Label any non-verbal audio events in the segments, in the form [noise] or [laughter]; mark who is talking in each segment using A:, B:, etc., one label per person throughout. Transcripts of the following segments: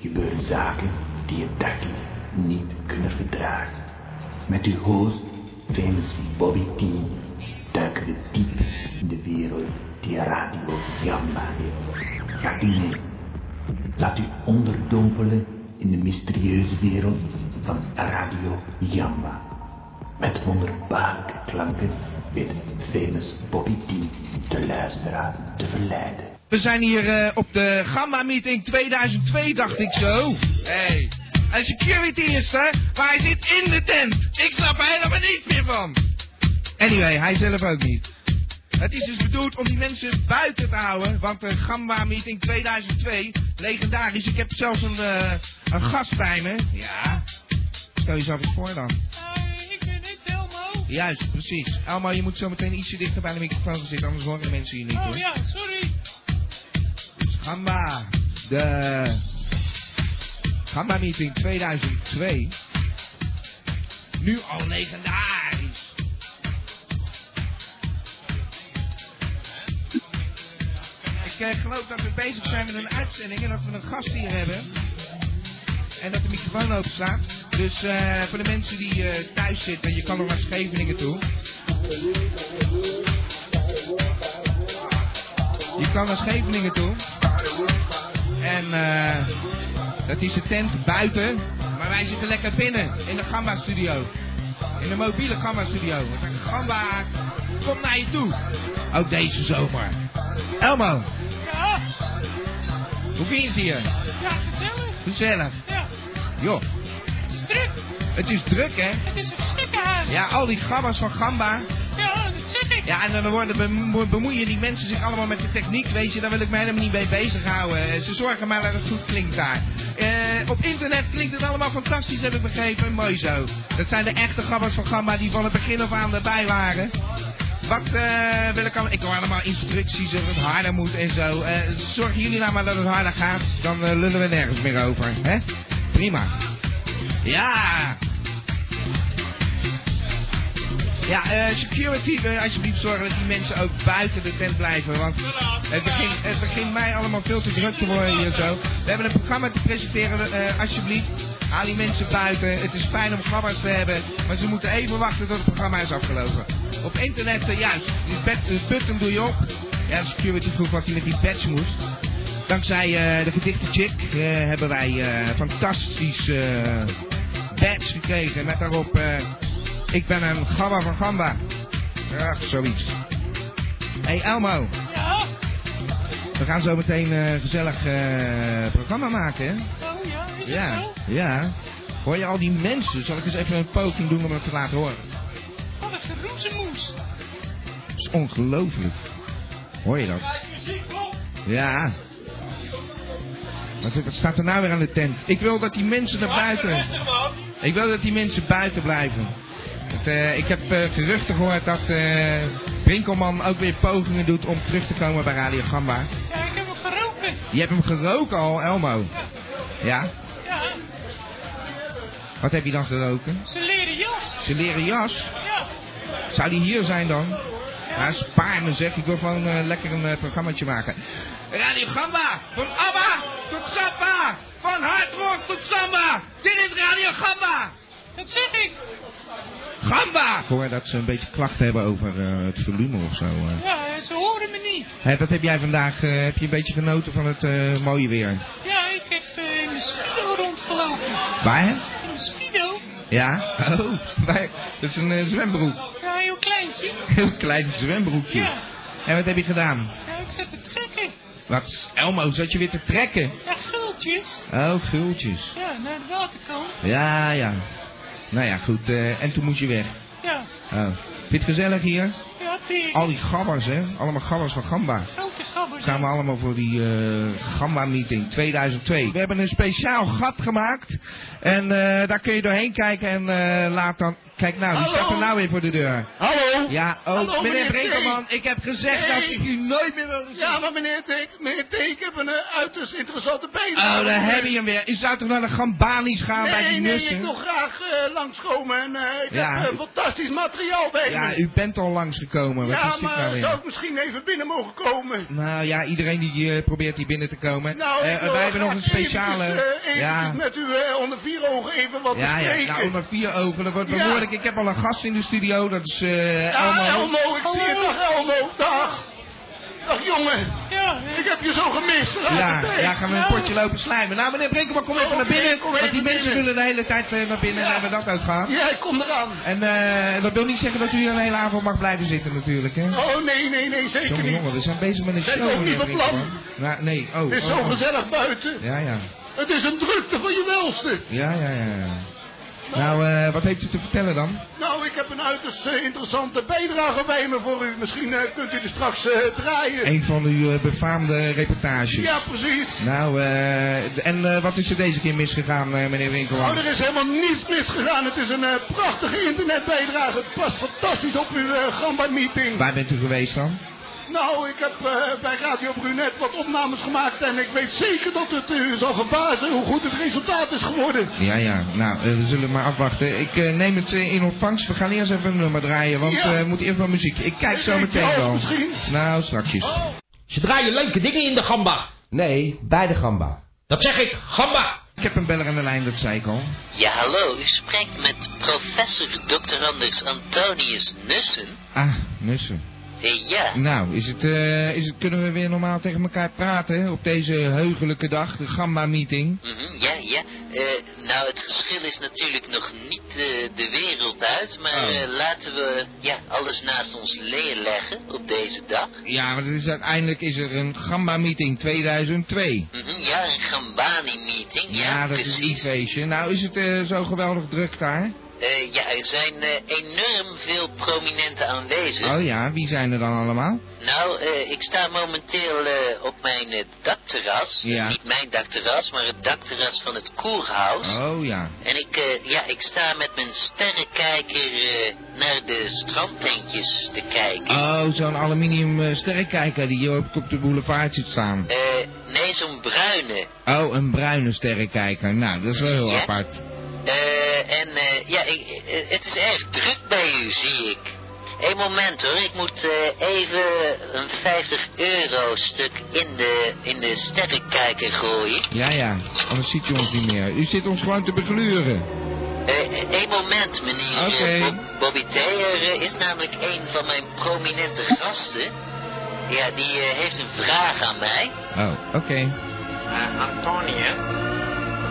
A: gebeuren zaken die je dagelijks niet kunnen verdragen. Met uw host, famous Bobby T, duiken we diep in de wereld die Radio Jamba heeft. Gaat u mee. Laat u onderdompelen in de mysterieuze wereld van Radio Jamba. Met wonderbaarlijke klanken weet famous Bobby T de luisteraar te verleiden.
B: We zijn hier eh, op de Gamma Meeting 2002, dacht ik zo. Hey. En security is er, maar hij zit in de tent. Ik snap er helemaal niets meer van. Anyway, hij zelf ook niet. Het is dus bedoeld om die mensen buiten te houden, want de Gamma Meeting 2002, legendarisch. Ik heb zelfs een, eh, een gast bij me. Ja. Stel jezelf eens voor dan.
C: Hoi, ik ben het Elmo.
B: Juist, precies. Elmo, je moet zo meteen ietsje dichter bij de microfoon gaan zitten, anders horen de mensen je niet
C: Oh
B: hoor.
C: ja, sorry.
B: Gamba, de Gamba Meeting 2002. Nu al legendarisch. Ik eh, geloof dat we bezig zijn met een uitzending en dat we een gast hier hebben. En dat de microfoon open staat. Dus eh, voor de mensen die eh, thuis zitten, je kan nog naar Scheveningen toe. Je kan naar Scheveningen toe. En eh, dat is de tent buiten. Maar wij zitten lekker binnen in de Gamba studio. In de mobiele Gamba studio. Want de Gamba komt naar je toe. Ook deze zomer. Elmo,
C: Ja,
B: hoe vind je het hier?
C: ja, gezellig.
B: Gezellig.
C: Ja,
B: Joh,
C: het is druk.
B: het is druk hè?
C: Het is een stukkenhuis.
B: Ja, al die gamba's van Gamba.
C: Ja, dat zeg ik.
B: [laughs] Ja, en dan worden bemo- bemoeien die mensen zich allemaal met de techniek, weet je, daar wil ik mij helemaal niet mee bezighouden. Eh, Ze zorgen maar dat het goed klinkt daar. Eh, op internet klinkt het allemaal fantastisch, heb ik begrepen. Mooi zo. Dat zijn de echte gabbers van Gamma die van het begin af aan erbij waren. Wat eh, wil ik allemaal? Ik hoor allemaal instructies of het harder moet en zo. Eh, zorgen jullie nou maar dat het harder gaat, dan eh, lullen we nergens meer over. Hè? Prima. Ja! Ja, eh, security, eh, alsjeblieft zorgen dat die mensen ook buiten de tent blijven. Want het begint, het begint mij allemaal veel te druk te worden hier zo. We hebben een programma te presenteren, eh, alsjeblieft. Haal die mensen buiten. Het is fijn om gamma's te hebben. Maar ze moeten even wachten tot het programma is afgelopen. Op internet, eh, juist, die bet- de button doe je op. Ja, de security vroeg wat hij met die badge moest. Dankzij eh, de gedichte chick eh, hebben wij eh, fantastisch eh badge gekregen. Met daarop, eh, ik ben een gamba van gamba. Ach, zoiets. Hey Elmo,
C: Ja, Oh,
B: we gaan zo meteen een gezellig eh, programma maken. hè?
C: oh ja, is het
B: Ja,
C: zo?
B: ja. Hoor je al die mensen? Zal ik eens even een poging doen om het te laten horen?
C: Wat een geroezemoes.
B: Dat is ongelooflijk. Hoor je dat? Ja. Wat, wat staat er nou weer aan de tent? Ik wil dat die mensen naar buiten.
C: man.
B: Ik wil dat die mensen buiten blijven. Het, eh, ik heb eh, geruchten gehoord dat eh Brinkelman ook weer pogingen doet om terug te komen bij Radio Gamba.
C: Ja, ik heb hem geroken.
B: Je hebt hem geroken al, Elmo. Ja?
C: Ja,
B: Wat heb je dan geroken?
C: zijn leren jas.
B: Zijn leren jas?
C: Ja,
B: Zou die hier zijn dan? Ja, spaar me zeg. Ik wil gewoon eh, lekker een eh, programmaatje maken. Radio Gamba! Van ABBA tot Samba! Van hardrock tot Samba! Dit is Radio Gamba!
C: dat zeg ik.
B: Gamba! Ik hoor dat ze een beetje klachten hebben over eh, het volume of zo. eh.
C: Ja, ze horen me niet.
B: Hé, wat heb jij vandaag? eh, heb je een beetje genoten van het eh, mooie weer?
C: Ja, ik heb eh, in mijn spido rondgelopen.
B: Waar? hè?
C: In mijn spido?
B: Ja. Oh, [laughs] waar? Dat is een eh, zwembroek. [laughs]
C: Ja, heel kleintje.
B: Heel klein zwembroekje.
C: Ja.
B: En wat heb je gedaan?
C: Ja, ik zat te trekken.
B: Wat? Elmo, zat je weer te trekken?
C: Ja, gultjes.
B: Oh, gultjes.
C: Ja, naar de waterkant.
B: Ja, ja. Nou ja, goed. eh, en toen moest je weg.
C: Ja,
B: Oh. Vind je het gezellig hier?
C: ja, die
B: Al die gabbers, hè? Allemaal gabbers van Gamba.
C: grote gabbers.
B: Gaan we allemaal voor die eh, Gamma-meeting 2002. We hebben een speciaal gat gemaakt. En eh, daar kun je doorheen kijken en eh, laat dan Kijk nou, die
D: Hallo?
B: staat er nou weer voor de deur.
D: Hallo?
B: Ja, oh,
D: Hallo,
B: meneer
D: meneer
B: Brekelman, ik heb gezegd
D: Nee.
B: dat ik u nooit meer wil zien. Oh,
D: Ja, maar meneer T, meneer T, ik heb een eh, uiterst interessante benen.
B: Oh, daar heb je hem weer. U zou toch naar de Gambani's gaan
D: Ah, Nee,
B: bij die
D: nee,
B: nussen?
D: ik wil graag eh, langskomen en eh, ik
B: Ja,
D: heb eh,
B: u-
D: fantastisch materiaal bij
B: Ja,
D: me.
B: u bent al langsgekomen. Wat
D: Ja,
B: is dit
D: maar
B: nou weer?
D: zou ik misschien even binnen mogen komen?
B: Nou ja, iedereen die eh, probeert hier binnen te komen.
D: Nou,
B: Eh,
D: ik wil
B: wij hebben nog
D: graag
B: een speciale.
D: Eventjes, eh, eventjes
B: ja.
D: met u eh, onder vier ogen even wat
B: ja, ja,
D: bespreken.
B: nou, onder vier ogen. Dat wordt
D: Ja.
B: behoorlijk. Ik heb al een gast in de studio. Dat is eh
D: Ja,
B: Elmo.
D: Elmo, ik zie je. Dag, Elmo. Dag. Dag, jongen.
C: Ja, hè.
D: Ik heb je zo gemist. de
B: Ja,
D: laatste tijd.
B: ja, gaan we een potje lopen slijmen. Nou, meneer Brinkelman, kom even
D: Oké,
B: naar binnen.
D: Oh, kom
B: Want
D: even
B: die mensen
D: binnen.
B: willen de hele tijd eh, naar binnen en
D: Ja.
B: hebben dat uitgehaald.
D: Ja, ik kom eraan.
B: En eh, dat wil niet zeggen dat u een hele avond mag blijven zitten natuurlijk, hè?
D: Oh, nee, nee, nee, zeker
B: Jongen,
D: niet.
B: jongen, we zijn bezig met een
D: Zijn
B: show,
D: we ook
B: meneer
D: niet van plan?
B: Brinkelman. Nou, nee, oh.
D: Het is
B: oh,
D: zo
B: oh.
D: gezellig buiten.
B: Ja, ja.
D: Het is een drukte van je welste.
B: Ja, ja, ja. ja. Nou, eh, wat heeft u te vertellen dan?
D: Nou, ik heb een uiterst eh, interessante bijdrage bij me voor u. Misschien eh, kunt u er straks eh, draaien.
B: Een van uw eh, befaamde reportages.
D: Ja, precies.
B: Nou, eh, d- en eh, wat is er deze keer misgegaan, eh, meneer
D: Nou,
B: Winkelman?
D: er is helemaal niets misgegaan. Het is een eh, prachtige internetbijdrage. Het past fantastisch op uw eh, Gamba-meeting.
B: Waar bent u geweest dan?
D: Nou, ik heb eh, bij Radio Brunet wat opnames gemaakt en ik weet zeker dat het eh, u zal verbazen hoe goed het resultaat is geworden.
B: Ja, ja. Nou, eh, we zullen maar afwachten. Ik eh, neem het eh, in ontvangst. We gaan eerst even een nummer draaien, want
D: Ja.
B: eh, we moeten eerst wel muziek. Ik kijk
D: Ik
B: zo
D: weet
B: meteen
D: wel,
B: wel.
D: misschien. Oh.
B: Nou, strakjes.
E: Ze draaien leuke dingen in de gamba.
F: Nee, bij de gamba.
E: Dat zeg ik, gamba.
B: Ik heb een beller aan de lijn, dat zei ik al.
G: Ja, hallo, u spreekt met professor Dr. Anders Antonius Nussen.
B: Ah, nussen.
G: Eh, ja,
B: Nou, is het, eh, is het, kunnen we weer normaal tegen elkaar praten op deze heugelijke dag, de Gamma-meeting?
G: mhm, ja, ja. Eh, nou, het geschil is natuurlijk nog niet eh, de wereld uit, maar
B: Oh.
G: eh, laten we ja, alles naast ons leerleggen op deze dag.
B: Ja, maar het is, uiteindelijk is er een Gamma-meeting 2002.
G: Mhm, ja, een Gambani-meeting, ja,
B: dat is een
G: precies.
B: feestje. Nou, is het eh, zo geweldig druk daar?
G: Eh, ja, er zijn eh, enorm veel prominenten aanwezig.
B: Oh ja, wie zijn er dan allemaal?
G: Nou, eh, ik sta momenteel eh, op mijn eh, dakterras.
B: Ja.
G: Niet mijn dakterras, maar het dakterras van het koerhuis.
B: Oh ja.
G: En ik, eh, ja, ik sta met mijn sterrenkijker eh, naar de strandtentjes te kijken.
B: Oh, zo'n aluminium eh, sterrenkijker die hier op, op de boulevard zit staan.
G: Eh, nee, zo'n bruine.
B: Oh, een bruine sterrenkijker. Nou, dat is wel heel
G: Ja.
B: apart.
G: Eh, en eh, ja, ik, eh, het is erg druk bij u, zie ik. Eén moment hoor, ik moet eh, even een 50 euro stuk in de, in de sterrenkijker gooien.
B: Ja, ja, anders ziet u ons niet meer. U zit ons gewoon te begluren.
G: Eén Eh, moment, meneer eh,
B: Oké.
G: Bob- Bobby T. Er eh, is namelijk een van mijn prominente gasten. Ja, die eh, heeft een vraag aan mij.
B: Oh, oké.
H: Eh, Antonius,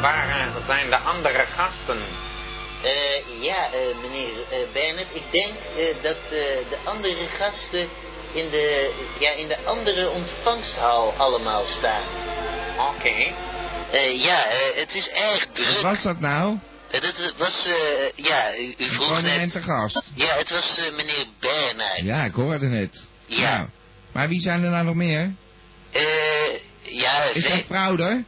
H: waar eh, zijn de andere gasten?
G: Eh, ja, eh, meneer eh Bernard, ik denk eh, dat eh, de andere gasten in de, ja, in de andere ontvangsthal allemaal staan.
H: Oké.
G: Eh, ja, eh, het is erg druk.
B: Wat was dat nou?
G: Eh, dat was, eh, ja, u, u vroeg net...
B: Prominente gast.
G: Ja, het was eh, meneer Bernard.
B: Ja, ik hoorde het.
G: Ja.
B: Nou, maar wie zijn er nou nog meer?
G: Eh, ja,
B: Is dat
G: we-
B: Prouder?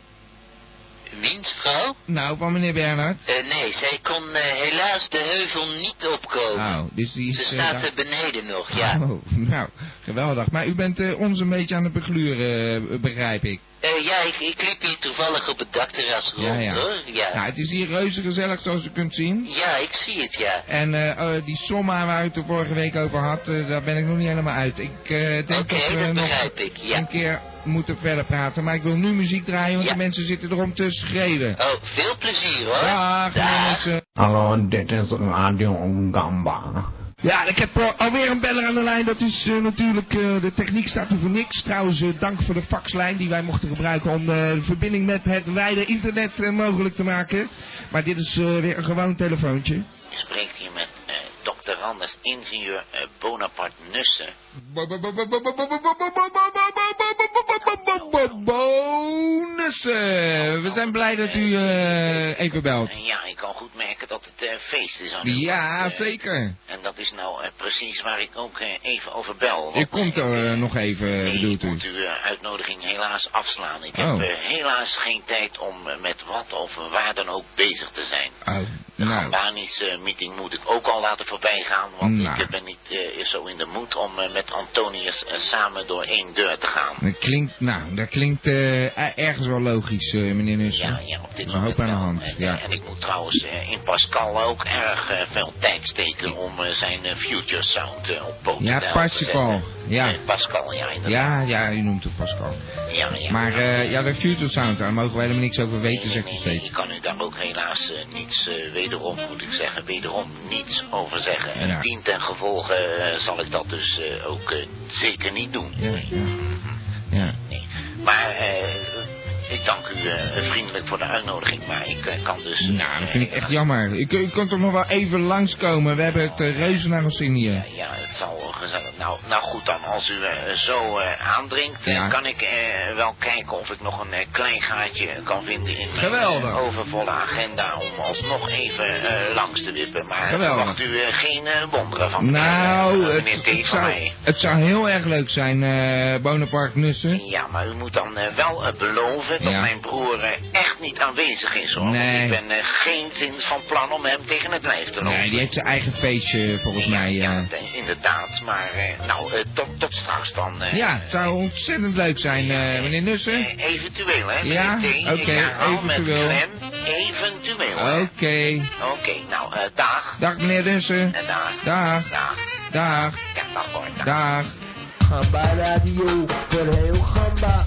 G: wiens vrouw?
B: Nou, van meneer Bernhard.
G: Eh, nee, zij kon eh, helaas de heuvel niet opkomen.
B: Oh, dus die is...
G: Ze
B: eh,
G: staat
B: daar-
G: er beneden nog, ja.
B: Oh, nou, geweldig. Maar u bent eh, ons een beetje aan het begluren, eh, begrijp ik.
G: Eh, ja, ik, ik liep hier toevallig op het dakterras rond,
B: Ja, ja.
G: hoor. Ja.
B: Nou, het is hier reuze gezellig, zoals u kunt zien.
G: ja, ik zie het, ja.
B: En eh, eh, die somma waar u het er vorige week over had, eh, daar ben ik nog niet helemaal uit. Ik eh,
G: Oké,
B: denk dat we
G: dat
B: nog
G: begrijp ik, ja.
B: een keer moeten verder praten. Maar ik wil nu muziek draaien, want
G: Ja.
B: de mensen zitten erom te schreeuwen.
G: Oh, veel plezier, hoor. Oh,
B: Dag, meneer
G: Dag.
B: mensen.
A: Hallo, dit is Radio Gamba.
B: Ja, ik heb eh, alweer een beller aan de lijn. Dat is eh, natuurlijk, eh, de techniek staat er voor niks. Trouwens, eh, dank voor de faxlijn die wij mochten gebruiken om eh, de verbinding met het wijde internet eh, mogelijk te maken. Maar dit is eh, weer een gewoon telefoontje.
G: Je spreekt hier met eh, dokter Anders, ingenieur eh, Bonaparte Nussen.
B: Bonussen! We zijn blij dat u eh, even belt.
G: Ja, ik kan goed merken dat het eh, feest is aan eh.
B: Ja, zeker.
G: En dat is nou precies waar ik ook eh, even over bel.
B: U komt er eh, nog even,
G: Nee, ik
B: bedoelt u?
G: moet uw eh, uitnodiging helaas afslaan. Ik
B: Oh.
G: heb eh, helaas geen tijd om eh, met wat of waar dan ook bezig te zijn.
B: Oh,
G: De
B: Nou.
G: Gambanische meeting moet ik ook al laten voorbij gaan, want
B: Nou.
G: ik eh, ben niet eh, zo in de moed om eh, met Antonius eh, samen door één deur te gaan.
B: Dat klinkt, nou, dat klinkt eh, er- ergens wel logisch, eh, meneer Nussen.
G: Ja, ja, op dit
B: Een
G: moment
B: hoop aan de
G: wel.
B: hand,
G: En,
B: ja.
G: en ik moet trouwens eh, in Pascal ook erg eh, veel tijd steken om eh, zijn eh, Future Sound eh, op poten
B: Ja,
G: te helpen
B: Pascal,
G: zetten.
B: ja.
G: Eh, Pascal, ja, inderdaad.
B: Ja, ja, u noemt het Pascal.
G: Ja, ja.
B: Maar eh, ja, de Future Sound, daar mogen wij helemaal niks over weten, zegt u
G: Nee, nee, nee,
B: steeds.
G: Ik kan u daar ook helaas eh, niets, eh, wederom moet ik zeggen, wederom niets over zeggen. En
B: Ja.
G: dien ten gevolge eh, zal ik dat dus eh, ook eh, zeker niet doen.
B: Ja, ja. Ja,
G: Nee. Maar eh, ik dank u eh, vriendelijk voor de uitnodiging, maar ik eh, kan dus...
B: Nou, dat vind ik
G: eh,
B: echt jammer. U, u kunt toch nog wel even langskomen? We hebben het uh, reuze naar ons in hier.
G: Ja, het zal wel gezellig. Nou, nou goed dan, als u eh, zo eh, aandringt, eh,
B: Ja.
G: kan ik eh, wel kijken of ik nog een eh, klein gaatje kan vinden in mijn
B: Geweldig.
G: eh, overvolle agenda om alsnog even eh, langs te wippen. Maar
B: Geweldig.
G: verwacht u eh, geen eh, wonderen van meneer, eh,
B: Nou,
G: meneer
B: het,
G: T
B: het,
G: van
B: zou,
G: mij.
B: het zou heel erg leuk zijn, eh Bonaparte Nussen.
G: Ja, maar u moet dan eh, wel eh, beloven dat
B: Ja.
G: mijn broer eh, echt niet aanwezig is, hoor.
B: Nee.
G: Want ik ben eh, geen zin van plan om hem tegen het lijf te lopen.
B: Nee, die heeft zijn eigen feestje volgens mij.
G: Ja,
B: eh.
G: eh, inderdaad, maar eh, nou, eh, tot, tot straks dan. eh.
B: Ja, het zou ontzettend leuk zijn, eh, meneer Nussen.
G: Eh, eventueel, hè? meneer
B: Ja,
G: T. Ik
B: oké,
G: herhaal met
B: eventueel.
G: klem, eventueel. hè.
B: Oké.
G: Oké, nou, eh, dag.
B: Dag meneer Nussen.
G: En dag.
B: Dag.
G: Dag.
B: Dag.
G: Ja, dag hoor. Dag.
B: Dag.
F: Gamba Radio, voor heel Gamba.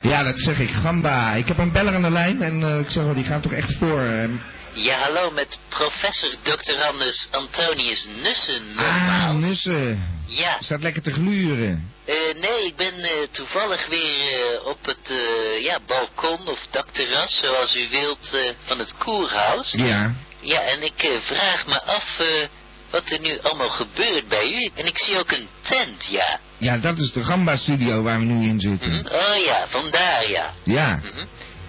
B: Ja, dat zeg ik. Gamba. Ik heb een beller aan de lijn en eh, ik zeg wel, die gaat toch echt voor. eh.
G: Ja, hallo met professor doctorandus Antonius Nussen.
B: ah,
G: nogmaals.
B: Nussen.
G: Ja,
B: Staat lekker te gluren.
G: eh, nee, ik ben eh, toevallig weer eh, op het eh, ja, balkon of dakterras, zoals u wilt, eh, van het koerhuis.
B: Ja.
G: Ja, en ik eh, vraag me af eh, wat er nu allemaal gebeurt bij u. En ik zie ook een tent, ja.
B: Ja, dat is de Gamba-studio waar we nu in zitten.
G: Mhm. Oh ja, vandaar ja.
B: Ja.
G: Mhm.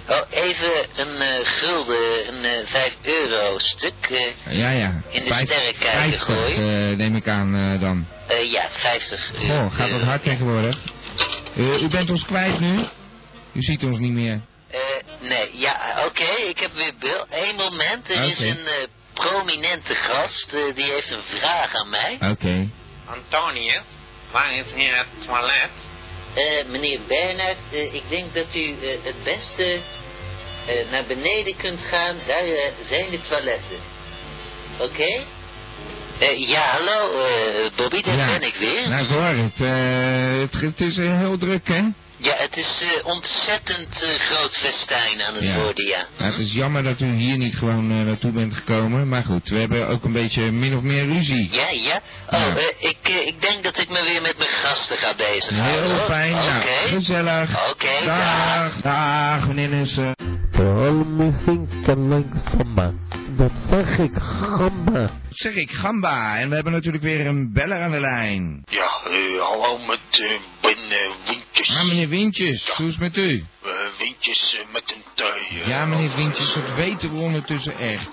G: Oh, even een eh, gulden, een eh 5 euro stuk. eh,
B: Ja, ja.
G: In de
B: Vijf-
G: sterren kijken,
B: 50,
G: gooi.
B: eh, neem ik aan eh, dan.
G: eh, ja, 50 euro.
B: Goh, Oh, gaat dat hard tegenwoordig. Eh, u bent ons kwijt nu. U ziet ons niet meer.
G: Eh, nee, ja, oké, ik heb weer bel. Eén moment, er is
B: Oké.
G: een eh, prominente gast, eh, die heeft een vraag aan mij.
B: Oké.
H: Antonius, waar is hier het toilet?
G: Eh, meneer Bernhard, eh, ik denk dat u eh, het beste eh, naar beneden kunt gaan. Daar eh, zijn de toiletten. Oké? Eh, ja, hallo, eh, Bobby, daar
B: Ja.
G: ben ik weer.
B: Nou, ik hoor het. Eh, het. Het is eh, heel druk, hè?
G: Ja, het is eh, ontzettend eh, groot festijn aan het
B: Ja.
G: worden, ja.
B: Nou, het is jammer dat u hier niet gewoon eh, naartoe bent gekomen. Maar goed, we hebben ook een beetje min of meer ruzie.
G: Ja, ja. Oh,
B: Ja.
G: eh, ik, eh, ik denk dat ik me weer met mijn gasten ga bezighouden.
B: Heel
G: hoor.
B: fijn,
G: Oké.
B: nou, gezellig.
G: Oké, dag.
B: Dag, dag, meneer Nussen.
F: Vooral muziek en leuk Gamba. Dat zeg ik, Gamba.
B: Zeg ik, Gamba. En we hebben natuurlijk weer een beller aan de lijn.
A: Ja, eh, hallo met eh Ben eh, Wintjes.
B: Maar meneer Wintjes, hoe is het met u?
A: Eh, Wintjes eh, met een tui. eh,
B: Ja, meneer
A: over-
B: Wintjes, dat weten we ondertussen echt.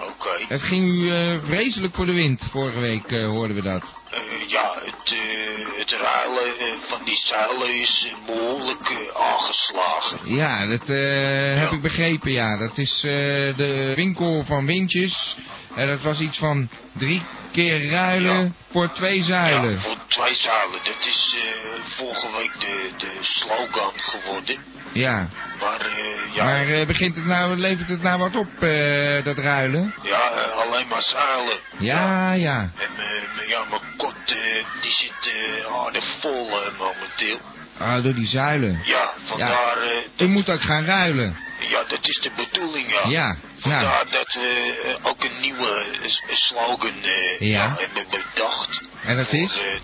A: Oké.
B: Het ging u eh, vreselijk voor de wind. Vorige week eh, hoorden we dat.
A: Eh, ja, het, eh, het ruilen eh, van die zeilen is eh, behoorlijk eh, aangeslagen.
B: Ja, dat eh, heb ik begrepen, ja. Dat is eh, de winkel van Windjes. En dat was iets van drie keer ruilen
A: Ja.
B: voor twee zuilen.
A: Ja, voor twee zeilen. Dat is eh, vorige week de, de slogan geworden.
B: Ja.
A: Maar eh, ja,
B: Maar eh, begint het nou, levert het nou wat op, eh, dat ruilen?
A: ja eh, alleen maar zeilen.
B: Ja, ja.
A: En eh, m- ja, mijn kot eh, die zit eh, aardig vol eh, momenteel.
B: Ah, door die zuilen.
A: Ja, vandaar... eh,
B: U moet ook gaan ruilen.
A: ja, dat is de bedoeling, ja.
B: Ja, nou.
A: Vandaar dat we eh, ook een nieuwe eh, s- slogan eh,
B: Ja.
A: hebben bedacht.
B: En dat
A: voor,
B: is?
A: eh,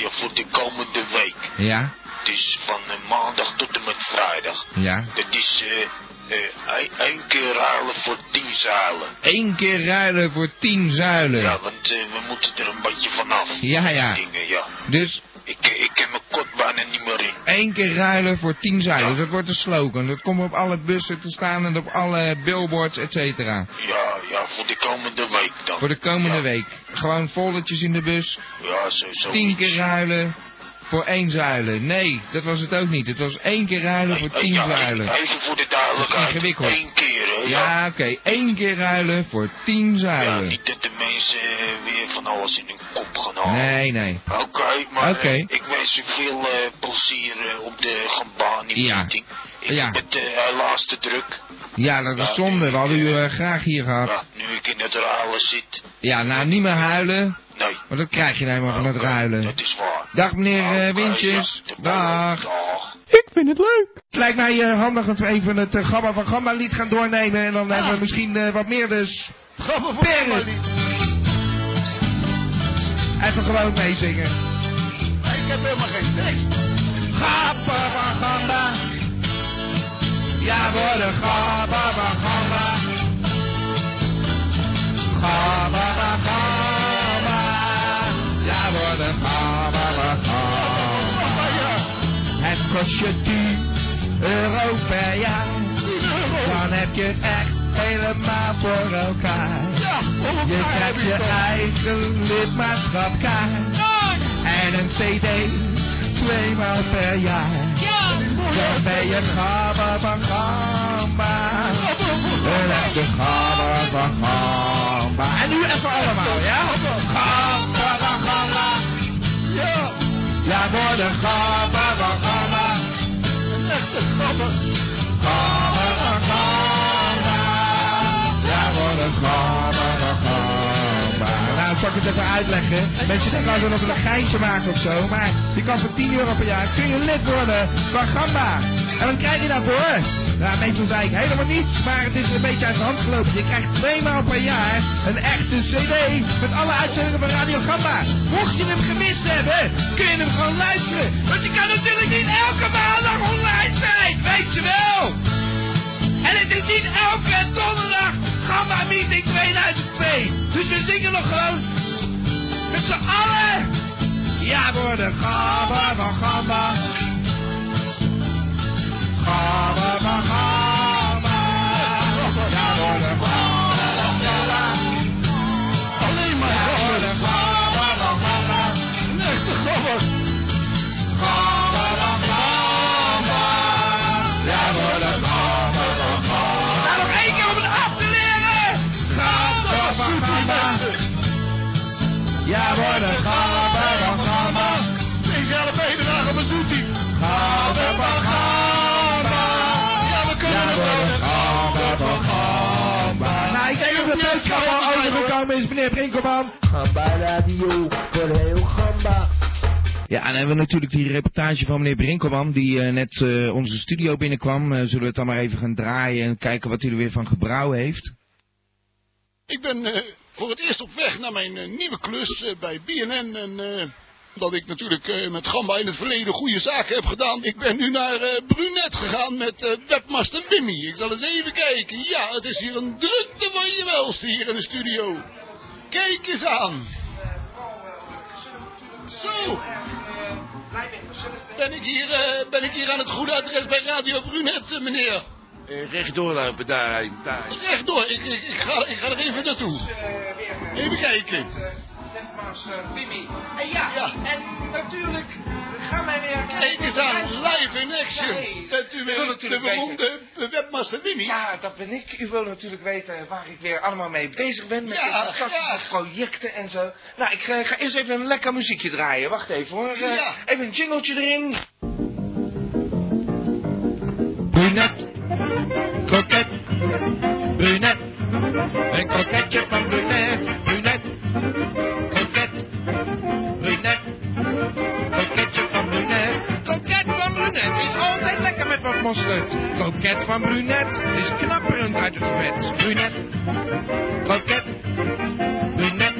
A: ja, voor de komende week.
B: Ja,
A: Dus van eh, maandag tot en met vrijdag.
B: ja.
A: Dat is eh, eh, één- één keer ruilen voor tien zuilen.
B: Eén keer ruilen voor tien zuilen.
A: Ja, want eh, we moeten er een beetje vanaf.
B: Ja, ja.
A: Dingen, ja.
B: Dus
A: Ik, ik ken mijn kot bijna niet meer in.
B: Eén keer ruilen voor tien zeilen. Dat wordt de slogan. Dat komt op alle bussen te staan en op alle billboards, et cetera.
A: Ja, ja, voor de komende week dan.
B: Voor de komende
A: Ja.
B: week. Gewoon foldertjes in de bus.
A: Ja, zo, zo.
B: Tien keer ruilen voor één zuilen. Nee, dat was het ook niet. Het was één keer ruilen voor tien
A: ja,
B: zuilen.
A: Even voor de
B: Dat is
A: duidelijkheid.
B: ingewikkeld.
A: Eén keer, hè.
I: hè?
B: Ja, oké. Eén keer ruilen voor tien
I: Ja,
B: zuilen.
I: niet dat de mensen eh, weer van alles in hun kop gaan halen.
B: Nee, nee.
I: Oké, maar eh,
B: Oké.
I: ik wens u veel eh, plezier eh, op de
B: Ja.
I: Gambani-meeting. Ik
B: Ja.
I: heb het eh, helaas te druk.
B: Ja, dat is zonde. We hadden u eh, graag hier gehad.
I: Ja, nu ik in het ruilen zit.
B: Ja, nou, niet meer huilen.
I: Nee.
B: Want dat krijg je nou helemaal van het
I: Oké,
B: ruilen.
I: Dat is waar.
B: Dag meneer eh,
I: Oké,
B: Windjes.
I: ja, tot
B: Dag.
I: Dag.
F: Ik vind het leuk.
B: Het lijkt mij eh, handig dat we even het eh, Gamma van Gamma lied gaan doornemen. En dan hebben we misschien eh, wat meer dus.
D: Gamma van
B: Perren.
D: Gamma lied.
B: Even gewoon meezingen.
D: Ik heb helemaal geen tekst.
B: Gamma van Gamma. Ja, voor de Gamma van Gamma. Gamma van Gamma. Ja, voor de Gamma van Gamma.
D: Maar ja,
B: Het kost je 10 euro per jaar.
C: eh.
B: Dan heb je echt helemaal voor elkaar.
D: ja, om
B: Je
D: elkaar heb
B: krijgt je
D: ik dat.
B: eigen lidmaatschapkaart. En een cd, tweemaal per jaar. Dan ben je gaba van gamba. Een echte gaba van gamba. En nu even allemaal, ja? Gaba van gamba.
D: Ja,
B: Ja, voor de gaba van gamba.
D: een echte gabber.
B: Gaba van gamba. Ja, voor de gaba van gamba. Nou, zal ik het even uitleggen. Mensen denken altijd dat we een geintje maken of zo. Maar je kan voor 10 euro per jaar kun je lid worden van gamba. En wat krijg je daarvoor? Nou, meestal zei ik helemaal niets, maar het is een beetje uit de hand gelopen. Je krijgt twee maal per jaar een echte cd met alle uitzendingen van Radio Gamba. Mocht je hem gemist hebben, kun je hem gewoon luisteren. Want je kan natuurlijk niet elke maandag online zijn, weet je wel. En het is niet elke donderdag Gamma Meeting 2002. Dus we zingen nog gewoon met z'n allen. Ja, worden Gamma van Gamma. Gamma van Gamma. Ja, worden Gamma van Gamma.
D: Alleen maar
B: Ja,
D: gabbers.
B: worden Gamma van Gamma.
D: Een echte gabber.
B: Gamma van Gamma. Ja, worden Gamma van Gamma. Nou, nog één keer om het af te leren. Gamma van Gamma. Ja, worden Gamma van Gamma.
D: Deze hele bijdrage van Zoetie.
B: Gabber van Gamba.
D: Ja, we kunnen het wel.
B: Gabber van Gamba. Nou, ik denk dat de boodschap al overgekomen is, meneer Brinkelman.
F: Gamba Radio voor heel Gamba.
B: Ja, en dan hebben we natuurlijk die reportage van meneer Brinkelman, die eh, net eh, onze studio binnenkwam. Eh, zullen we het dan maar even gaan draaien en kijken wat hij er weer van gebrouwen heeft?
D: Ik ben eh, voor het eerst op weg naar mijn eh, nieuwe klus eh, bij BNN. En eh, dat ik natuurlijk eh, met Gamba in het verleden goede zaken heb gedaan. Ik ben nu naar eh, Brunet gegaan met eh, webmaster Wimmy. Ik zal eens even kijken. Ja, het is hier een drukte van je welste hier in de studio. Kijk eens aan. Zo. Ben ik hier, eh, ben ik hier aan het goede adres bij Radio Brunet, eh, meneer?
J: rechtdoor lopen daarheen. Daar.
D: Rechtdoor, ik, ik, ik, ga, ik ga er even naartoe.
B: Eh,
D: Even kijken.
B: En ja,
D: Ja.
B: en natuurlijk gaan wij weer
D: Kijk eens aan, live in action.
B: Nee.
D: Met u
B: wil
D: weer de
B: natuurlijk
D: beroemde webmaster Wimmy.
B: Ja, dat ben ik. U wil natuurlijk weten waar ik weer allemaal mee bezig ben. Met
D: Ja,
B: deze fantastische
D: graag.
B: projecten en zo. Nou, ik eh, ga eerst even een lekker muziekje draaien. Wacht even hoor. Eh,
D: Ja.
B: Even een jingletje erin. Brunet, kroket, brunet. Een kroketje van brunet, brunet, kroket, brunet. Kroketje van brunet, kroket van brunet is altijd lekker met wat mosterd. Kroket van brunet is knapperend uit het vet. Brunet, kroket, brunet,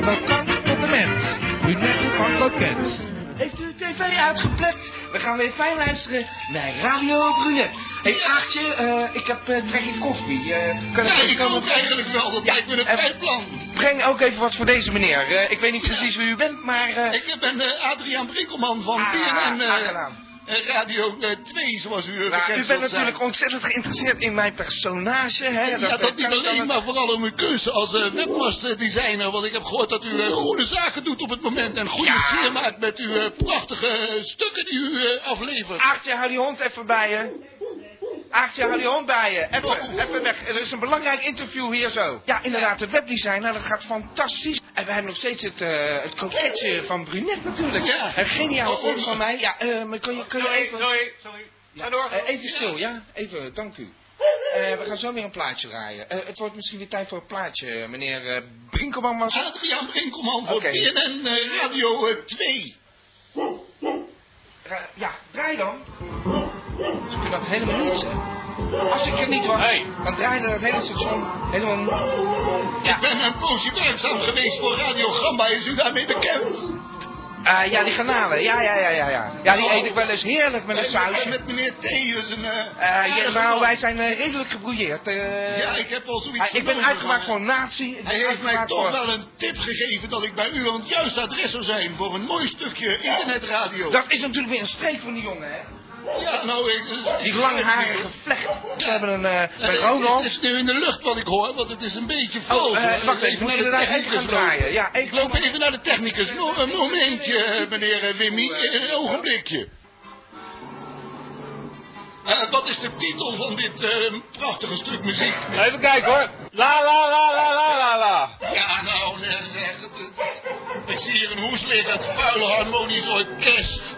B: krokant tot de mens. Brunet van kroket. Heeft u de tv uitgeplet? We gaan weer fijn luisteren naar Radio Brunet. Hé hey, Aartje, eh, ik heb eh, trek in koffie. Eh, kan
D: Ja,
B: even
D: ik
B: komen?
D: ook eigenlijk wel. Dat
B: Ja,
D: lijkt me een
B: en-
D: fijn plan.
B: Breng ook even wat voor deze meneer. Eh, ik weet niet precies wie u bent, maar... eh,
D: Ik ben eh, Adriaan Brinkelman van
B: Ah,
D: BNN eh,
B: aangenaam.
D: eh, Radio eh, 2, zoals u eh,
B: Nou,
D: bekend
B: u
D: zult
B: bent natuurlijk
D: zijn.
B: ontzettend geïnteresseerd in mijn personage, hè?
D: Ja,
B: eh,
D: dat niet
B: kan ik dan
D: alleen,
B: ook-
D: maar vooral om uw keuze als eh, webmaster designer. Want ik heb gehoord dat u eh, goede zaken doet op het moment. En goede sfeer maakt met uw eh, prachtige eh, stukken die u eh, aflevert.
B: Aartje, hou die hond even bij je. Aartje, hou die hond bij je. Even, even weg. Er is een belangrijk interview hier zo. Ja, inderdaad, de webdesign, nou, dat gaat fantastisch. En we hebben nog steeds het, eh het kroketje van Brunet natuurlijk.
D: Ja.
B: Een geniale vondst van mij. Ja, eh, maar kun je, kun je even...
H: Sorry, sorry. Ga door.
B: Eh, even stil, ja? Even, dank u. Eh, we gaan zo weer een plaatje draaien. Eh, het wordt misschien weer tijd voor een plaatje, meneer eh Brinkelman was het?
D: Adriaan Brinkelman voor
B: Oké.
D: BNN eh, Radio eh, 2.
B: Ra- Eh, ja, draai dan. Ze kunnen dat helemaal niet, hè? Als ik er niet was, dan draaide dat hele station helemaal
D: Ik ben een poosje werkzaam geweest voor Radio Gamba. Is u daarmee bekend?
B: Ah, ja, die granalen. Ja, ja, ja, ja, ja. Ja, die eet ik wel eens heerlijk met een
D: En met-
B: sausje.
D: en met meneer T. is een... eh,
B: Eh, ja,
D: aardige
B: nou,
D: man.
B: wij zijn eh, redelijk gebrouilleerd. eh.
D: Ja, ik heb wel zoiets
B: Ah, ik ben
D: vernomen,
B: uitgemaakt
D: maar-
B: voor nazi. Ik ben
D: Hij heeft mij
B: uitgemaakt
D: toch
B: voor-
D: wel een tip gegeven dat ik bij u aan het juiste adres zou zijn voor een mooi stukje internetradio.
B: Dat is natuurlijk weer een streek van die jongen, hè?
D: Ja, nou, ik,
B: Die langharige vlecht. Ze hebben een... eh bij Ronald...
D: Het is nu in de lucht wat ik hoor, want het is een beetje flauw.
B: Oh, eh, wacht even, moet ik daar even gaan draaien? Ja,
D: Ik loop even naar de technicus. Mo- een momentje, eh, meneer eh, Wimmy.
B: Oh,
D: Eh, Een ogenblikje. Eh, wat is de titel van dit eh, prachtige stuk muziek?
H: Even kijken hoor. La la la la la la la.
D: Ja, nou, eh, zeg, het, het- ik zie hier een hoes liggen, het vuile harmonisch orkest.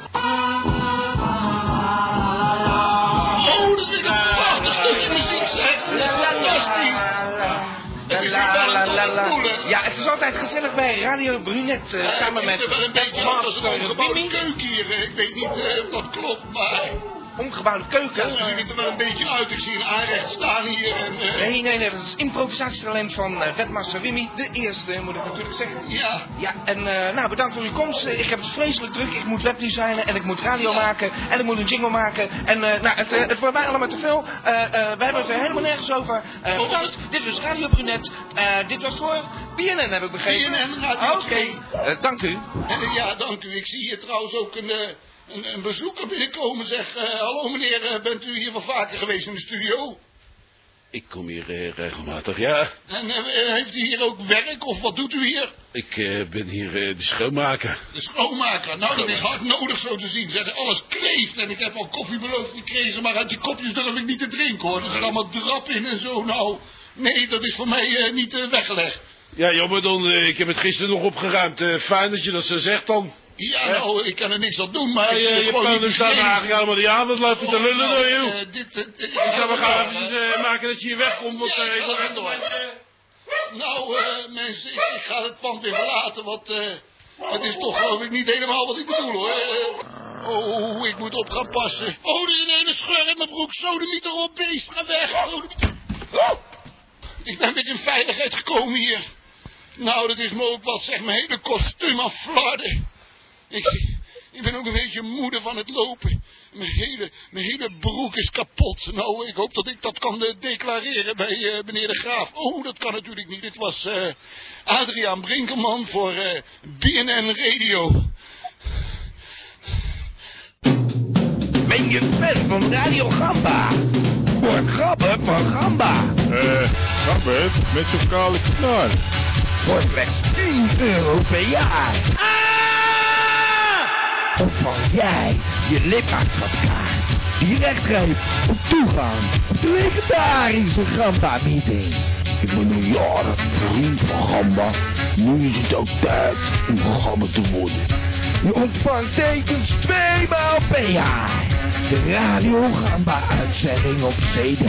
D: Oh, dat is een prachtig stukje muziek, zeg. Dat is fantastisch. Het is hier wel een dolle
B: Ja, het is altijd gezellig bij Radio Brunet. eh, samen
D: het ziet er wel
B: met
D: een beetje uit als een
B: Master
D: omgebouwde
B: Bimmy.
D: keuken hier. eh, Ik weet niet eh, of dat klopt, maar...
B: Omgebouwde
D: Ja,
B: keuken.
D: ze ziet er wel een beetje uit. Ik zie een aanrecht staan hier en... eh,
B: Nee, nee, nee, dat is improvisatietalent van eh, Webmaster Wimmy. De eerste, moet ik natuurlijk zeggen.
D: Ja,
B: Ja, en eh, nou, bedankt voor uw komst. Eh, Ik heb het vreselijk druk. Ik moet webdesignen en ik moet radio maken en ik moet een jingle maken. En eh, nou, het, eh, het wordt mij allemaal te veel. Eh, eh, we hebben het er helemaal nergens over. Eh, bedankt. Dit was Radio Brunet. Eh, dit was voor BNN, heb ik begrepen.
D: BNN Radio
B: Oké, Eh, dank u.
D: En, eh, ja, dank u. Ik zie hier trouwens ook een, eh, een, een bezoeker binnenkomen. Zeg, eh, hallo meneer, eh, bent u hier wel vaker geweest in de studio?
J: Ik kom hier eh, regelmatig, ja.
D: En eh, heeft u hier ook werk of wat doet u hier?
J: Ik eh, ben hier eh, de schoonmaker.
D: De schoonmaker. Nou, dat is hard nodig zo te zien. Zeg, alles kleeft en ik heb al koffie beloofd gekregen, maar uit die kopjes durf ik niet te drinken hoor. Er zit allemaal drap in en zo. Nou, nee, dat is voor mij eh, niet eh, weggelegd.
J: Ja, jammer dan. eh, ik heb het gisteren nog opgeruimd. Eh, fijn dat je dat zo zegt dan.
D: Ja, nou, ik kan er niks aan doen, maar
J: Hey,
D: ik
J: eh,
D: vind het
J: je
D: gewoon niet
J: pannen staan
D: hygiënisch.
J: eigenlijk allemaal die aan. Wat loop je te lullen door, joh?
D: Eh, dit, eh, dit-
J: Ik zou we gaan eventjes Oh, eh, maken dat je hier wegkomt, want
D: Ja,
J: eh, ik
D: ik
J: word
D: ga
J: echt
D: door. Nou, eh, mensen, ik, ik ga het pand weer verlaten, want eh, het is toch geloof ik niet helemaal wat ik bedoel, hoor. Eh, oh, ik moet op gaan passen. Oh, er is een hele scheur in mijn broek. Sodemiet erop, beest, ga weg. Sodemiet- Oh! Ik ben weer in veiligheid gekomen hier. Nou, dat is me ook wat, zeg, mijn hele kostuum aan flarden. Ik, ik ben ook een beetje moede van het lopen. Mijn hele, mijn hele broek is kapot. Nou, ik hoop dat ik dat kan eh, declareren bij eh, meneer de Graaf. Oh, dat kan natuurlijk niet. Dit was eh, Adriaan Brinkelman voor eh, BNN Radio.
B: Ben je fan van Radio Gamba? Voor grappen van Gamba.
K: Eh, Gambert, met zo'n kale knar.
B: Voor slechts 10 euro per jaar.
L: Ah!
B: Ontvang jij je lidmaatschapkaart direct geeft op toegang op de legendarische Gamba meeting.
A: Ik ben een jaren vriend van Gamba. Nu is het ook tijd om Gamba te worden.
B: Je ontvangt tekens tweemaal per jaar. De Radio Gamba uitzending op CD.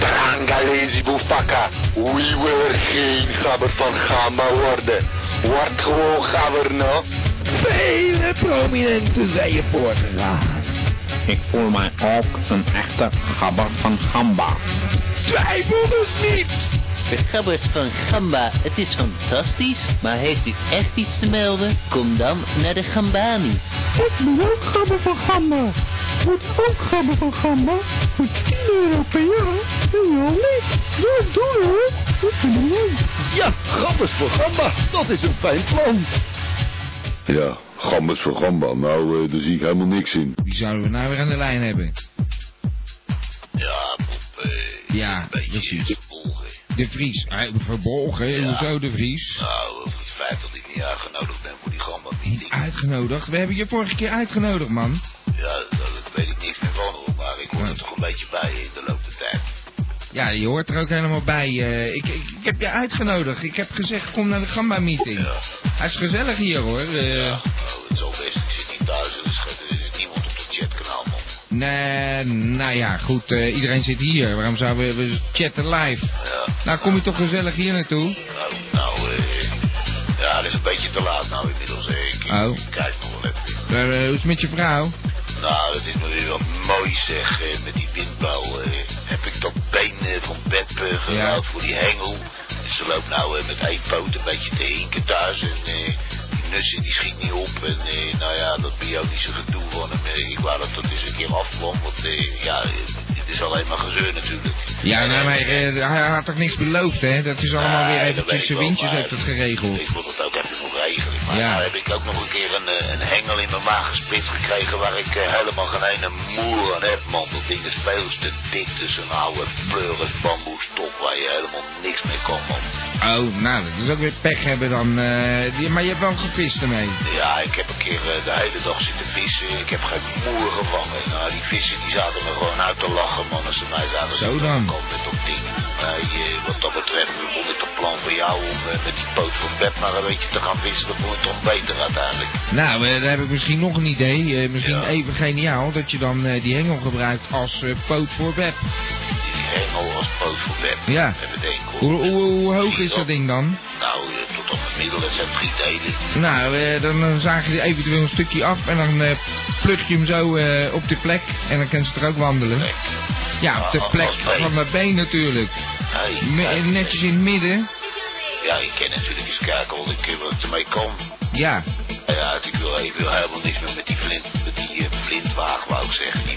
M: Trangalezi Bufaka, we willen geen gabber van Gamba worden. Word gewoon gabber, no?
B: Vele prominenten zijn je voorgegaan.
L: Ik voel mij ook een echte gabber van Gamba.
B: Twijfel dus niet!
G: De gabbers van Gamba, het is fantastisch. Maar heeft u echt iets te melden? Kom dan naar de Gambanis.
N: Ik ben ook gabber van Gamba. Wordt ook gabber van Gamba. Voor 10 euro per jaar. En joh, niet. Ja, doe hoor. Ik vind hem leuk.
O: Ja, grappers voor Gamba. Dat is een fijn plan.
P: Ja, gambas voor gamba. Nou, eh, daar zie ik helemaal niks in.
B: Wie zouden we nou weer aan de lijn hebben?
I: Ja, Bob, eh,
B: Ja,
I: een beetje
B: precies.
I: verborgen.
B: De Vries. Hij- Verborgen,
I: Ja.
B: hoezo de Vries?
I: Nou, het feit dat ik niet uitgenodigd ben voor die gamma meeting.
B: Uitgenodigd? We hebben je vorige keer uitgenodigd, man.
I: Ja, dat, dat weet ik niks meer van hoor, maar ik hoor er toch een beetje bij in de loop der tijd.
B: Ja, je hoort er ook helemaal bij. eh, ik, ik, ik heb je uitgenodigd. Ik heb gezegd, kom naar de Gamba-meeting. Hij is gezellig hier, hoor. Eh,
I: Oh, het is al best, ik zit niet thuis en er is, er is niemand op de chatkanaal, man.
B: Nee, nou ja, goed. eh, iedereen zit hier. Waarom zouden we, we chatten live? Nou, kom je toch gezellig hier naartoe?
I: Nou, nou, eh, ja, dat is een beetje te laat nou inmiddels. eh. Ik, ik
B: Oh.
I: kijk nog wel even.
B: Eh, hoe is het met je vrouw?
I: Nou, dat is maar weer wat mooi zeg, eh, met die windbouw. eh. heb ik dat been eh, van Beb eh, gehaald voor die hengel. En ze loopt nou eh, met één poot een beetje te hinken thuis. En eh, die nussen die schiet niet op. En eh, nou ja, dat biotische gedoe van hem. eh, ik wou dat dat eens een keer afkwam. Want eh, ja, eh, het is alleen maar gezeur natuurlijk.
B: Ja, nou, maar eh, hij had toch niks beloofd, hè? Dat is allemaal weer
I: Nee, dat
B: eventjes
I: weet ik wel,
B: windjes
I: maar
B: heeft het geregeld.
I: Ik moet het ook even nog regelen. Maar
B: Ja.
I: nou heb ik ook nog een keer een, eh, een hengel in mijn maag gespitst gekregen waar ik eh, helemaal geen ene moer aan heb, man. Dat ding is veel te dik tussen een oude pleuris bamboestok waar je helemaal niks mee kan, man.
B: Oh, nou, dat is ook weer pech hebben dan. eh, die- maar je hebt wel gevist ermee.
I: Ja, ik heb een keer eh, de hele dag zitten vissen. Ik heb geen moer gevangen. Nou, die vissen die zaten me gewoon uit te lachen, man. Als ze mij zaten
B: Zo dan.
I: Nee, eh, wat dat betreft vond ik het plan van jou om eh, met die poot van bed maar een beetje te gaan vissen. Dat vond ik toch beter uiteindelijk.
B: Nou, eh, dan heb ik misschien nog een idee. eh, misschien even geniaal dat je dan eh, die hengel gebruikt als eh, poot voor web.
I: Die hengel als poot voor bed.
B: Ja.
I: En meteen kom.
B: Hoe, hoe, hoe hoog is dat ding dan?
I: Nou, eh, tot op het middel, het zijn drie delen.
B: Nou, eh, dan eh, zaag je er eventueel een stukje af en dan eh plug je hem zo eh, op de plek en dan kan ze er ook wandelen. Ja, op de
I: Ah,
B: plek
I: als been.
B: van mijn been natuurlijk.
I: Hey,
B: Me-
I: hey.
B: netjes in het midden.
I: Ja, ik ken natuurlijk eens kijken wat ik, eh, wat ik ermee kan.
B: Ja,
I: Nou Ja, ik wil, ik wil helemaal niks meer met die flint, met die eh, flintwaag, wou ik zeggen. Die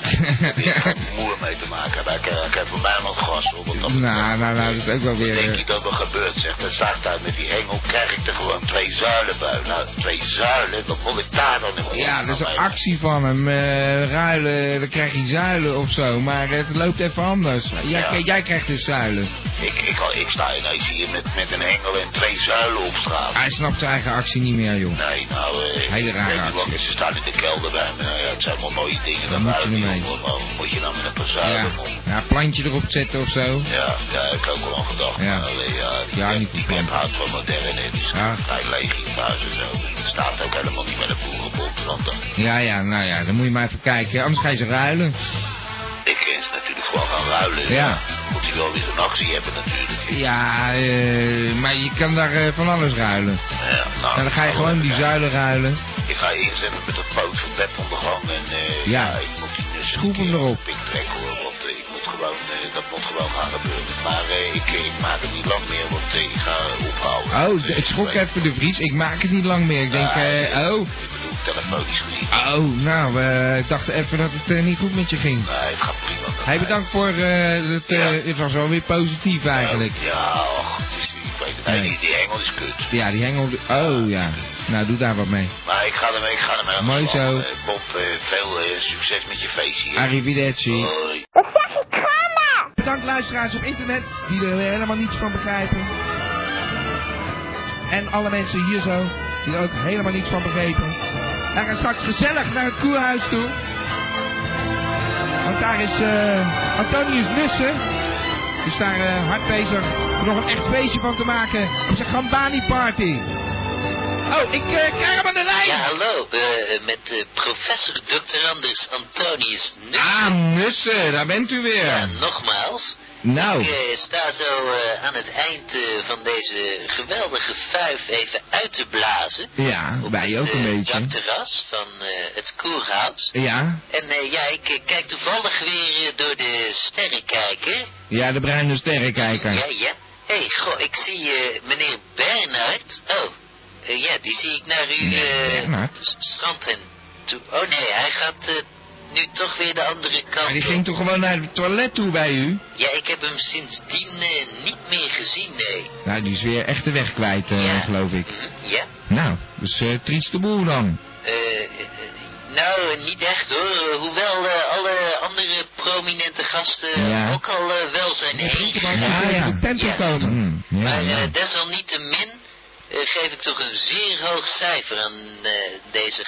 B: [laughs]
I: Daar wil ik geen moer mee te maken. eh, hebben. Daar kan- kan voor mij nog gas op. Want dat
B: nou, nou, nou, dat is ook wel weer...
I: denk
B: eh,
I: je dat er gebeurt, zegt de zachtheid met die hengel. Krijg ik er gewoon twee zuilen bij. Nou, twee zuilen, wat vond ik daar dan in
B: Ja, dat is een actie van hem. eh, ruilen, dan krijg je zuilen of zo. Maar het loopt even anders. Jij,
I: Ja.
B: kri- jij krijgt dus zuilen.
I: Ik, ik, ik sta ineens hier met, met een hengel en twee zuilen op straat.
B: Hij snapt zijn eigen actie niet meer, joh.
I: Nee, nou, eh,
B: Hele rare
I: ik weet niet wat,
B: actie.
I: ze staan in de kelder bij me. Nou ja, het zijn wel mooie dingen.
B: Dan
I: Dat
B: moet je
I: waren die
B: ermee.
I: jongen, maar moet je nou met een paar
B: Ja,
I: zuilen om?
B: ja plantje erop zetten of zo.
I: Ja, daar heb ik ook wel aan gedacht.
B: Ja.
I: Ja. Alleen, ja, die
B: Ja,
I: web-
B: niet
I: die web houdt van moderne. Het is
B: Ja.
I: vrij leeg hier thuis en zo. Dus Het staat ook helemaal niet met een boerenbond. Want eh, dan,
B: Ja, ja, nou ja, dan moet je maar even kijken. Anders ga je ze ruilen.
I: ik kan ze natuurlijk gewoon gaan ruilen.
B: Ja.
I: Moet hij wel weer een actie hebben natuurlijk.
B: Ja, eh, maar je kan daar eh, van alles ruilen.
I: Ja, nou,
B: Nou, dan ga je gewoon die zuilen ruilen.
I: Ik ga inzetten met dat poot van Pep ondergang. En eh,
B: Ja.
I: ja, ik moet die dus
B: Schroef hem erop.
I: Ik trek hoor, want eh, ik moet gewoon, eh, dat moet gewoon gaan gebeuren. Maar eh, ik, ik maak het niet lang meer, want eh, ik ga ophouden.
Q: Ah.
B: Oh, d- ik schrok even de vries. Ik maak het niet lang meer. Ik denk, eh, oh.
I: Ik bedoel, telefonisch gezien.
B: Oh, nou, eh, ik dacht even dat het eh, niet goed met je ging.
I: Nee, het gaat prima. met
B: Hé,
I: mij.
B: bedankt voor eh, het. eh, het was wel weer positief eigenlijk.
I: Ja, och, het is, ik weet het. Nee,
B: Nee.
I: die, die hengel is kut.
B: Ja, die hengel. Oh ja. Nou, doe daar wat mee.
I: Maar ik ga ermee, ik ga ermee aan de
B: Mooi
I: slag.
B: zo.
I: Eh, Bob, eh, veel eh, succes met je feestje. hier.
B: Arrivederci.
I: Hoi.
B: Bedankt luisteraars op internet die er weer helemaal niets van begrijpen. En alle mensen hier zo die er ook helemaal niets van begrepen. Wij gaan straks gezellig naar het koerhuis toe. Want daar is eh, Antonius Nussen. Die is daar eh, hard bezig om nog een echt feestje van te maken. Op zijn Gambani party. Oh, ik eh, krijg hem aan de lijn.
G: Ja, hallo, eh, met eh, professor Dr. Anders Antonius Nussen.
B: Ah, Nussen, daar bent u weer.
G: Ja, nogmaals.
B: Nou.
G: Ik eh, sta zo eh, aan het eind eh, van deze geweldige vijf even uit te blazen.
B: Ja, wij ook een
G: Eh,
B: beetje.
G: Dat terras van eh, het koerhuis.
B: Ja,
G: En eh, ja, ik eh, kijk toevallig weer eh, door de sterrenkijker.
B: ja, de bruine sterrenkijker.
G: Ja, ja. Hé, hey, goh, ik zie eh, meneer Bernhard. Oh, eh, ja, die zie ik naar uw eh,
B: Bernhard?
G: s- strand en toe. Oh nee, hij gaat eh, nu toch weer de andere kant
B: Maar die
G: op.
B: ging toch gewoon naar het toilet toe bij u?
G: Ja, ik heb hem sindsdien eh, niet meer gezien, nee. Mhm,
B: Nou, die is weer echt de weg kwijt, eh, geloof ik.
G: Ja?
B: Nou, dus eh trieste boel dan.
G: Eh, eh, eh, nou, eh, niet echt hoor. Eh, Hoewel eh, alle andere prominente gasten
B: Ja.
G: ook al eh, wel zijn heen.
B: ja.
G: Ja.
B: Hmm, ja,
G: Maar
B: ja.
G: eh, desalniettemin eh, geef ik toch een zeer hoog cijfer aan eh, deze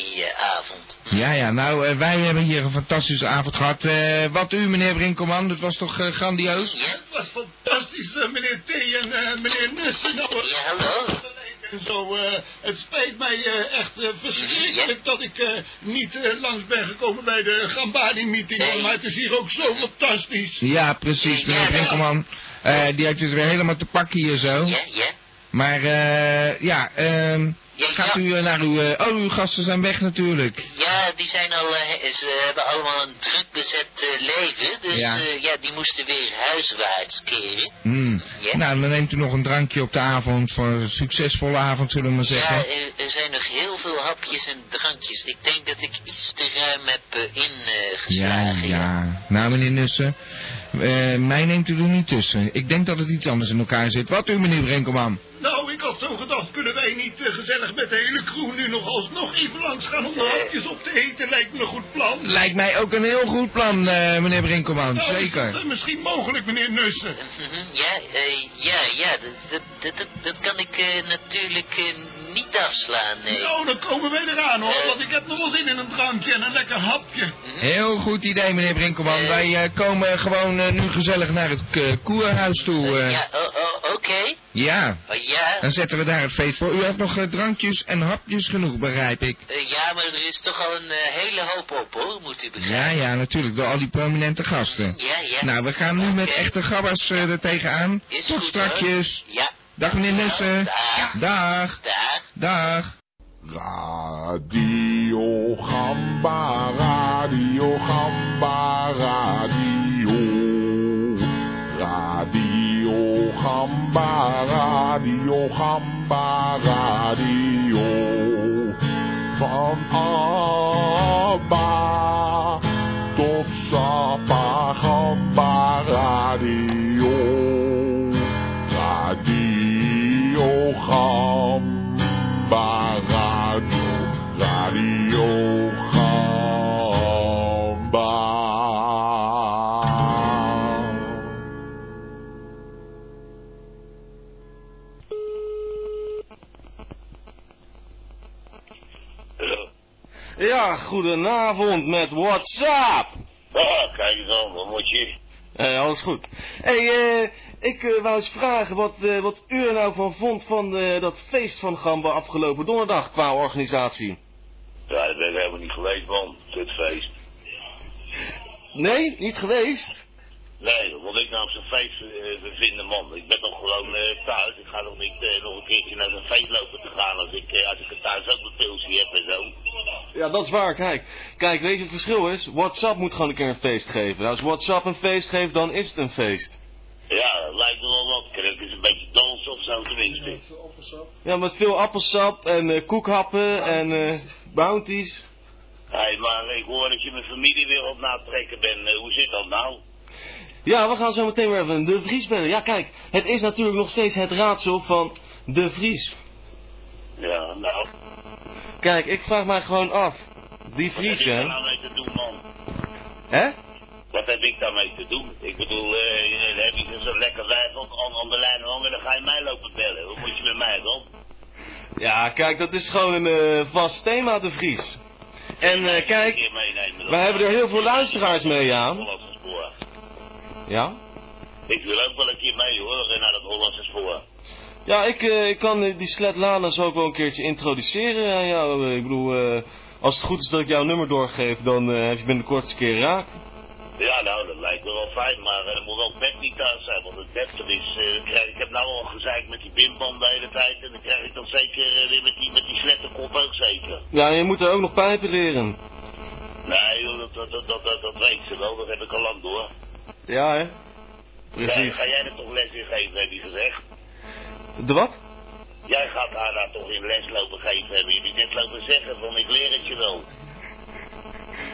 G: Gambani-avond.
B: Ja, ja, nou, eh, wij hebben hier een fantastische avond gehad. Eh, wat u, meneer Brinkelman, dat was toch eh, grandioos?
D: Het was fantastisch, eh, meneer T. en eh, meneer Nussen. Nou, ja, hallo. Zo, eh, het spijt mij eh, echt eh, verschrikkelijk dat ik eh, niet eh, langs ben gekomen bij de Gambari-meeting. Maar het is hier ook zo fantastisch.
B: Ja, precies, meneer Brinkelman. Eh, die heeft het weer helemaal te pakken hier zo. Ja,
G: ja.
B: Maar, eh, ja, ehm, gaat u eh, naar uw... eh, oh, uw gasten zijn weg natuurlijk.
G: Ja, die zijn al, eh, ze hebben allemaal een druk bezet eh, leven, dus
B: Ja.
G: ja. ja, die moesten weer huiswaarts keren.
B: Hmm.
G: Ja.
B: Nou, dan neemt u nog een drankje op de avond voor een succesvolle avond, zullen we maar zeggen.
G: Ja, er, er zijn nog heel veel hapjes en drankjes. Ik denk dat ik iets te ruim heb eh, ingeslagen.
B: Ja, ja. Nou, meneer Nussen, eh, mij neemt u er niet tussen. Ik denk dat het iets anders in elkaar zit. Wat u, meneer Brinkelman?
D: Nou, ik had zo gedacht, kunnen wij niet eh, gezellig met de hele crew nu nog alsnog even langs gaan om de hapjes op te eten? Lijkt me een goed plan.
B: Lijkt mij ook een heel goed plan, eh, meneer Brinkelman.
D: Nou, is
B: Zeker.
D: dat, eh, misschien mogelijk, meneer Nussen.
G: Mhm, Ja, eh, ja, ja, dat- dat, dat, dat, dat kan ik eh, natuurlijk eh, niet afslaan, eh. nee.
D: Nou, dan komen wij eraan hoor, want ik heb nog wel zin in een drankje en een lekker hapje.
B: Heel goed idee, meneer Brinkelman. Wij eh, komen gewoon eh, nu gezellig naar het eh, koerhuis toe. eh.
G: Ja, oh, oh, oké.
B: Ja.
G: Oh, ja.
B: Dan zetten we daar het feest voor. U had nog eh, drankjes en hapjes genoeg, begrijp ik.
G: Eh, ja, maar er is toch al een eh, hele hoop op, hoor, moet u
B: Ja,
G: begrijpen.
B: ja, natuurlijk. Door al die prominente gasten.
G: Ja, ja.
B: Nou, we gaan nu met echte gabbers eh, er tegenaan.
G: Is
B: Tot
G: goed,
B: strakjes.
G: hoor. Ja. Oh,
B: Dag meneer Nessen.
G: Dag.
B: Dag. Dag.
K: Radio Gamba, Radio Gamba, Radio. Radio Gamba, Radio Gamba, Radio. Van Abba tot Sapa Gamba, Radio. Radio Gamba, Radio, Radio Gamba.
Q: Ja, goedenavond met WhatsApp.
R: Ah, kijk dan, wat moet je?
Q: Eh, alles goed. hey, eh, ik eh, wou eens vragen wat, eh, wat u er nou van vond van eh, dat feest van Gamba afgelopen donderdag qua organisatie.
R: Ja, dat ben ik helemaal niet geweest, man, dit feest.
Q: Nee, niet geweest?
R: Nee, wat ik nou op zo'n feest eh, bevinden, man. Ik ben toch gewoon eh, thuis. Ik ga nog niet eh, nog een keertje naar zo'n feest lopen te gaan als ik, eh, als ik er thuis ook een pilsje heb en zo.
Q: Ja, dat is waar, kijk. Kijk, weet je het verschil is? WhatsApp moet gewoon een keer een feest geven. Nou, als WhatsApp een feest geeft, dan is het een feest.
R: Ja, dat lijkt me wel wat. Kruk is een beetje dansen of zo, tenminste.
Q: Ja, met veel appelsap en eh, koekhappen en eh, bounties.
R: Hé, maar ik hoor dat je mijn familie weer op na het trekken bent. Eh, hoe zit dat nou?
Q: Ja, we gaan zo meteen weer even De Vries bellen. Ja, kijk, het is natuurlijk nog steeds het raadsel van De Vries.
R: Ja, nou.
Q: Kijk, ik vraag mij gewoon af. Die Vries,
R: Wat heb ik daar
Q: hè?
R: nou mee te doen, man?
Q: Hè?
R: Wat heb ik daarmee te doen? Ik bedoel, eh, dan heb ik dus een lekker wijf op- aan, aan de lijn hangen, dan ga je mij lopen bellen. Hoe moet je met mij dan?
Q: Ja, kijk, dat is gewoon een eh, vast thema, De Vries. En eh, kijk,
R: Hier meenemen.
Q: wij hebben er heel veel luisteraars mee aan.
R: Hollandse spoor.
Q: Ja?
R: Ik wil ook wel een keer mee hoor, naar dat Hollandse spoor.
Q: Ja, ik, eh, ik kan eh, die Slet Lana zo ook wel een keertje introduceren aan jou. Eh, Ik bedoel, eh, als het goed is dat ik jouw nummer doorgeef, dan eh, heb je binnenkort eens een keer raak.
R: Ja, nou, dat lijkt me wel fijn, maar eh, er moet wel bed niet thuis zijn, want het bed er is... eh, krijg- ik heb nou al gezeik met die bimband de hele tijd en dan krijg ik dan zeker eh, weer met die, met die sletterkop ook zeker.
Q: Ja, en je moet er ook nog pijpen leren.
R: Nee, joh, dat, dat, dat, dat, dat, dat weet ze wel, dat heb ik al lang door.
Q: Ja, hè?
R: Ja,
Q: Precies.
R: ga jij er toch les in geven, heb je gezegd?
Q: De wat?
R: Jij gaat haar daar toch in les lopen geven, heb je niet net lopen zeggen van ik leer het je wel.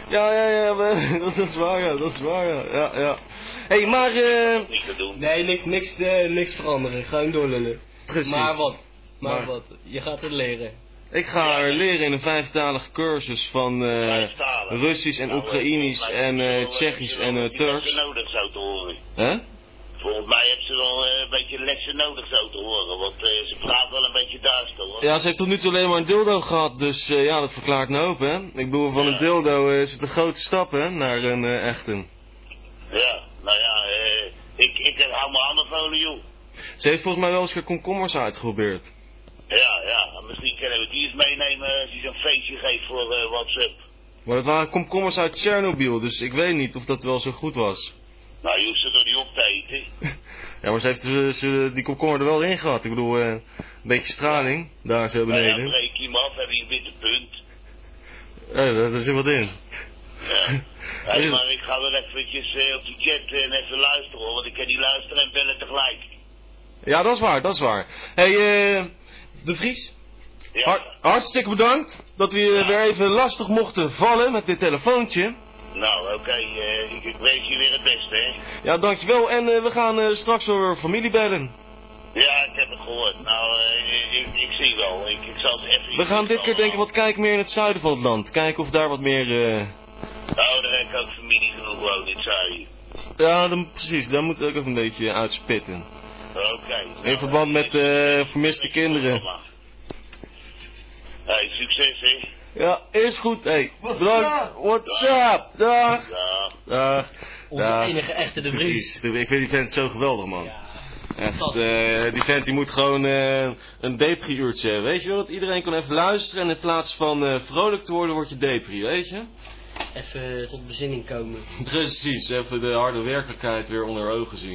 Q: Ja, ja, ja, maar- dat is waar, ja, dat is waar, ja, ja. ja. Hé, hey, maar... eh
S: Nee, niks, niks, eh, niks veranderen. Gewoon doorlullen.
Q: Precies.
S: Maar wat? Maar,
Q: Maar-
S: wat? Je gaat het leren.
Q: Ik ga haar leren in een vijftalige cursus van eh,
R: Nou,
Q: Russisch en Oekraïnisch en eh, Tsjechisch en
R: Dat
Q: eh,
R: heb je
Q: Turks.
R: nodig zou te horen.
Q: Hè?
R: Volgens mij heeft ze wel eh, een beetje lessen nodig zo te horen, want eh, ze praat wel een beetje duister hoor.
Q: Ja, ze heeft tot nu toe alleen maar een dildo gehad, dus eh, ja, dat verklaart een hoop, hè? Ik bedoel, van een dildo eh, is het een grote stap, hè, naar een eh, echte.
R: Ja, nou ja, eh, ik, ik hou mijn handen van joh.
Q: Ze heeft volgens mij wel eens een keer komkommers uitgeprobeerd.
R: Ja, ja, misschien kunnen we die eens meenemen als die zo'n feestje geeft voor eh, WhatsApp.
Q: Maar dat waren komkommers uit Tsjernobyl, dus ik weet niet of dat wel zo goed was.
R: Nou, je hoeft ze toch niet op te eten?
Q: Ja, maar ze heeft eh, ze, die komkommer er wel in gehad. Ik bedoel, eh, een beetje straling, daar zo
R: Nou ja,
Q: beneden.
R: breek je hem af, heb je een witte punt.
Q: Ja, daar daar zit wat in.
R: Ja. Hé,
Q: [laughs]
R: maar ik ga wel eventjes eh, op de chat en even luisteren hoor, want ik kan niet luisteren en bellen tegelijk.
Q: Ja, dat is waar, dat is waar. Hé, hey, eh, De Vries? Har- hartstikke bedankt dat we je weer even lastig mochten vallen met dit telefoontje.
R: Nou, oké, eh, ik, ik wens je weer het beste, hè.
Q: Ja, dankjewel. En eh, we gaan eh, straks weer familie bellen.
R: Ja, ik heb het gehoord. Nou, eh, ik, ik zie wel. Ik, ik zal het even...
Q: We gaan dit keer denk ik wat kijken meer in het zuiden van het land. Kijken of daar wat meer... eh,
R: Nou, daar heb ik ook familie genoeg woon in Zuid.
Q: Ja, dan, precies. Daar moet ik ook een beetje uitspitten.
R: Oké.
Q: In verband met eh, vermiste kinderen.
R: Hey, succes, hè.
Q: Ja, is goed. Hey, bedankt. What's up? Dag. Dag.
D: Onze
Q: Dag.
D: enige echte De Vries.
Q: Ik vind die vent zo geweldig, man. Echt, eh, die vent die moet gewoon eh, een depri-uurtje hebben. Weet je wel, dat iedereen kan even luisteren en in plaats van eh, vrolijk te worden, word je depri, weet je?
D: Even tot bezinning komen.
Q: Precies, even de harde werkelijkheid weer onder ogen zien.